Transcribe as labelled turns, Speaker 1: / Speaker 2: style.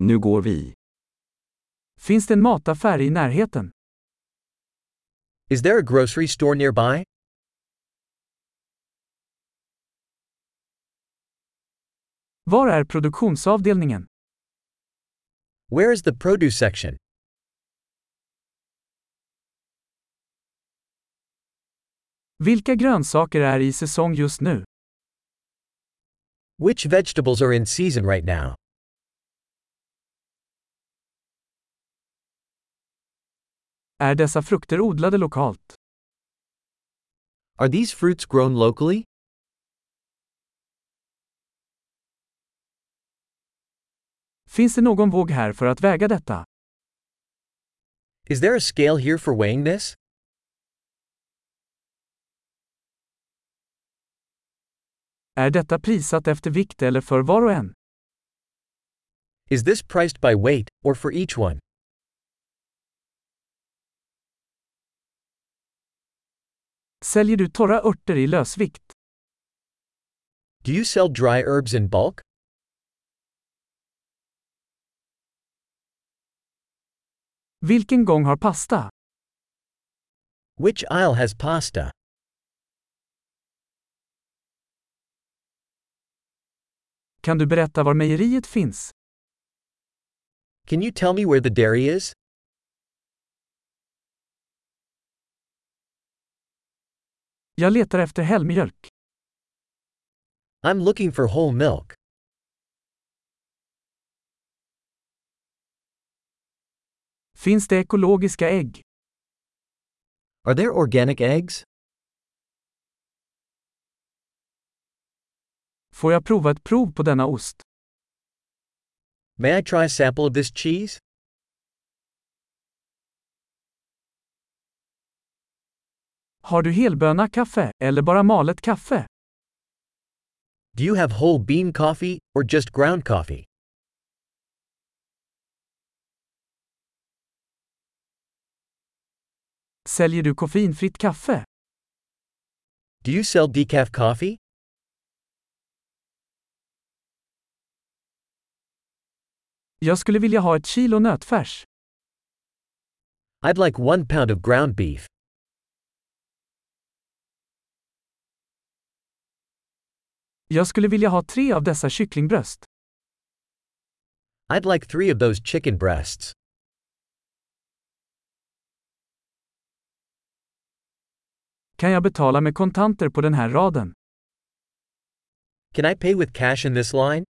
Speaker 1: Nu går vi.
Speaker 2: Finns det en mataffär i närheten?
Speaker 3: Is there a grocery store nearby?
Speaker 2: Var är produktionsavdelningen?
Speaker 3: Where is the produce section?
Speaker 2: Vilka grönsaker är i säsong just nu?
Speaker 3: Which vegetables are in season right now?
Speaker 2: Är dessa frukter odlade lokalt?
Speaker 3: Are these fruits grown locally?
Speaker 2: Finns det någon våg här för att väga detta?
Speaker 3: Is there a scale here for weighing this?
Speaker 2: Är detta prissatt efter vikt eller för var och en?
Speaker 3: Is this priced by weight, or for each one?
Speaker 2: Säljer du torra örter i lösvikt?
Speaker 3: Do you sell dry herbs in bulk?
Speaker 2: Vilken gång har pasta?
Speaker 3: Which aisle has pasta?
Speaker 2: Kan du berätta var mejeriet finns?
Speaker 3: Can you tell me where the dairy is?
Speaker 2: Jag letar efter helmjölk.
Speaker 3: I'm looking for whole milk.
Speaker 2: Finns det ekologiska ägg?
Speaker 3: Are there organic eggs?
Speaker 2: Får jag prova ett prov på denna ost?
Speaker 3: May I try a sample of this cheese?
Speaker 2: Har du helböna kaffe eller bara malet kaffe?
Speaker 3: Do you have whole bean coffee, or just ground coffee?
Speaker 2: Säljer du koffeinfritt kaffe?
Speaker 3: Do you sell decaf coffee?
Speaker 2: Jag skulle vilja ha ett kilo nötfärs.
Speaker 3: I'd like one pound of ground beef.
Speaker 2: Jag skulle vilja ha tre av dessa kycklingbröst.
Speaker 3: I'd like three of those chicken breasts.
Speaker 2: Kan jag betala med kontanter på den här raden?
Speaker 3: Can I pay with cash in this line?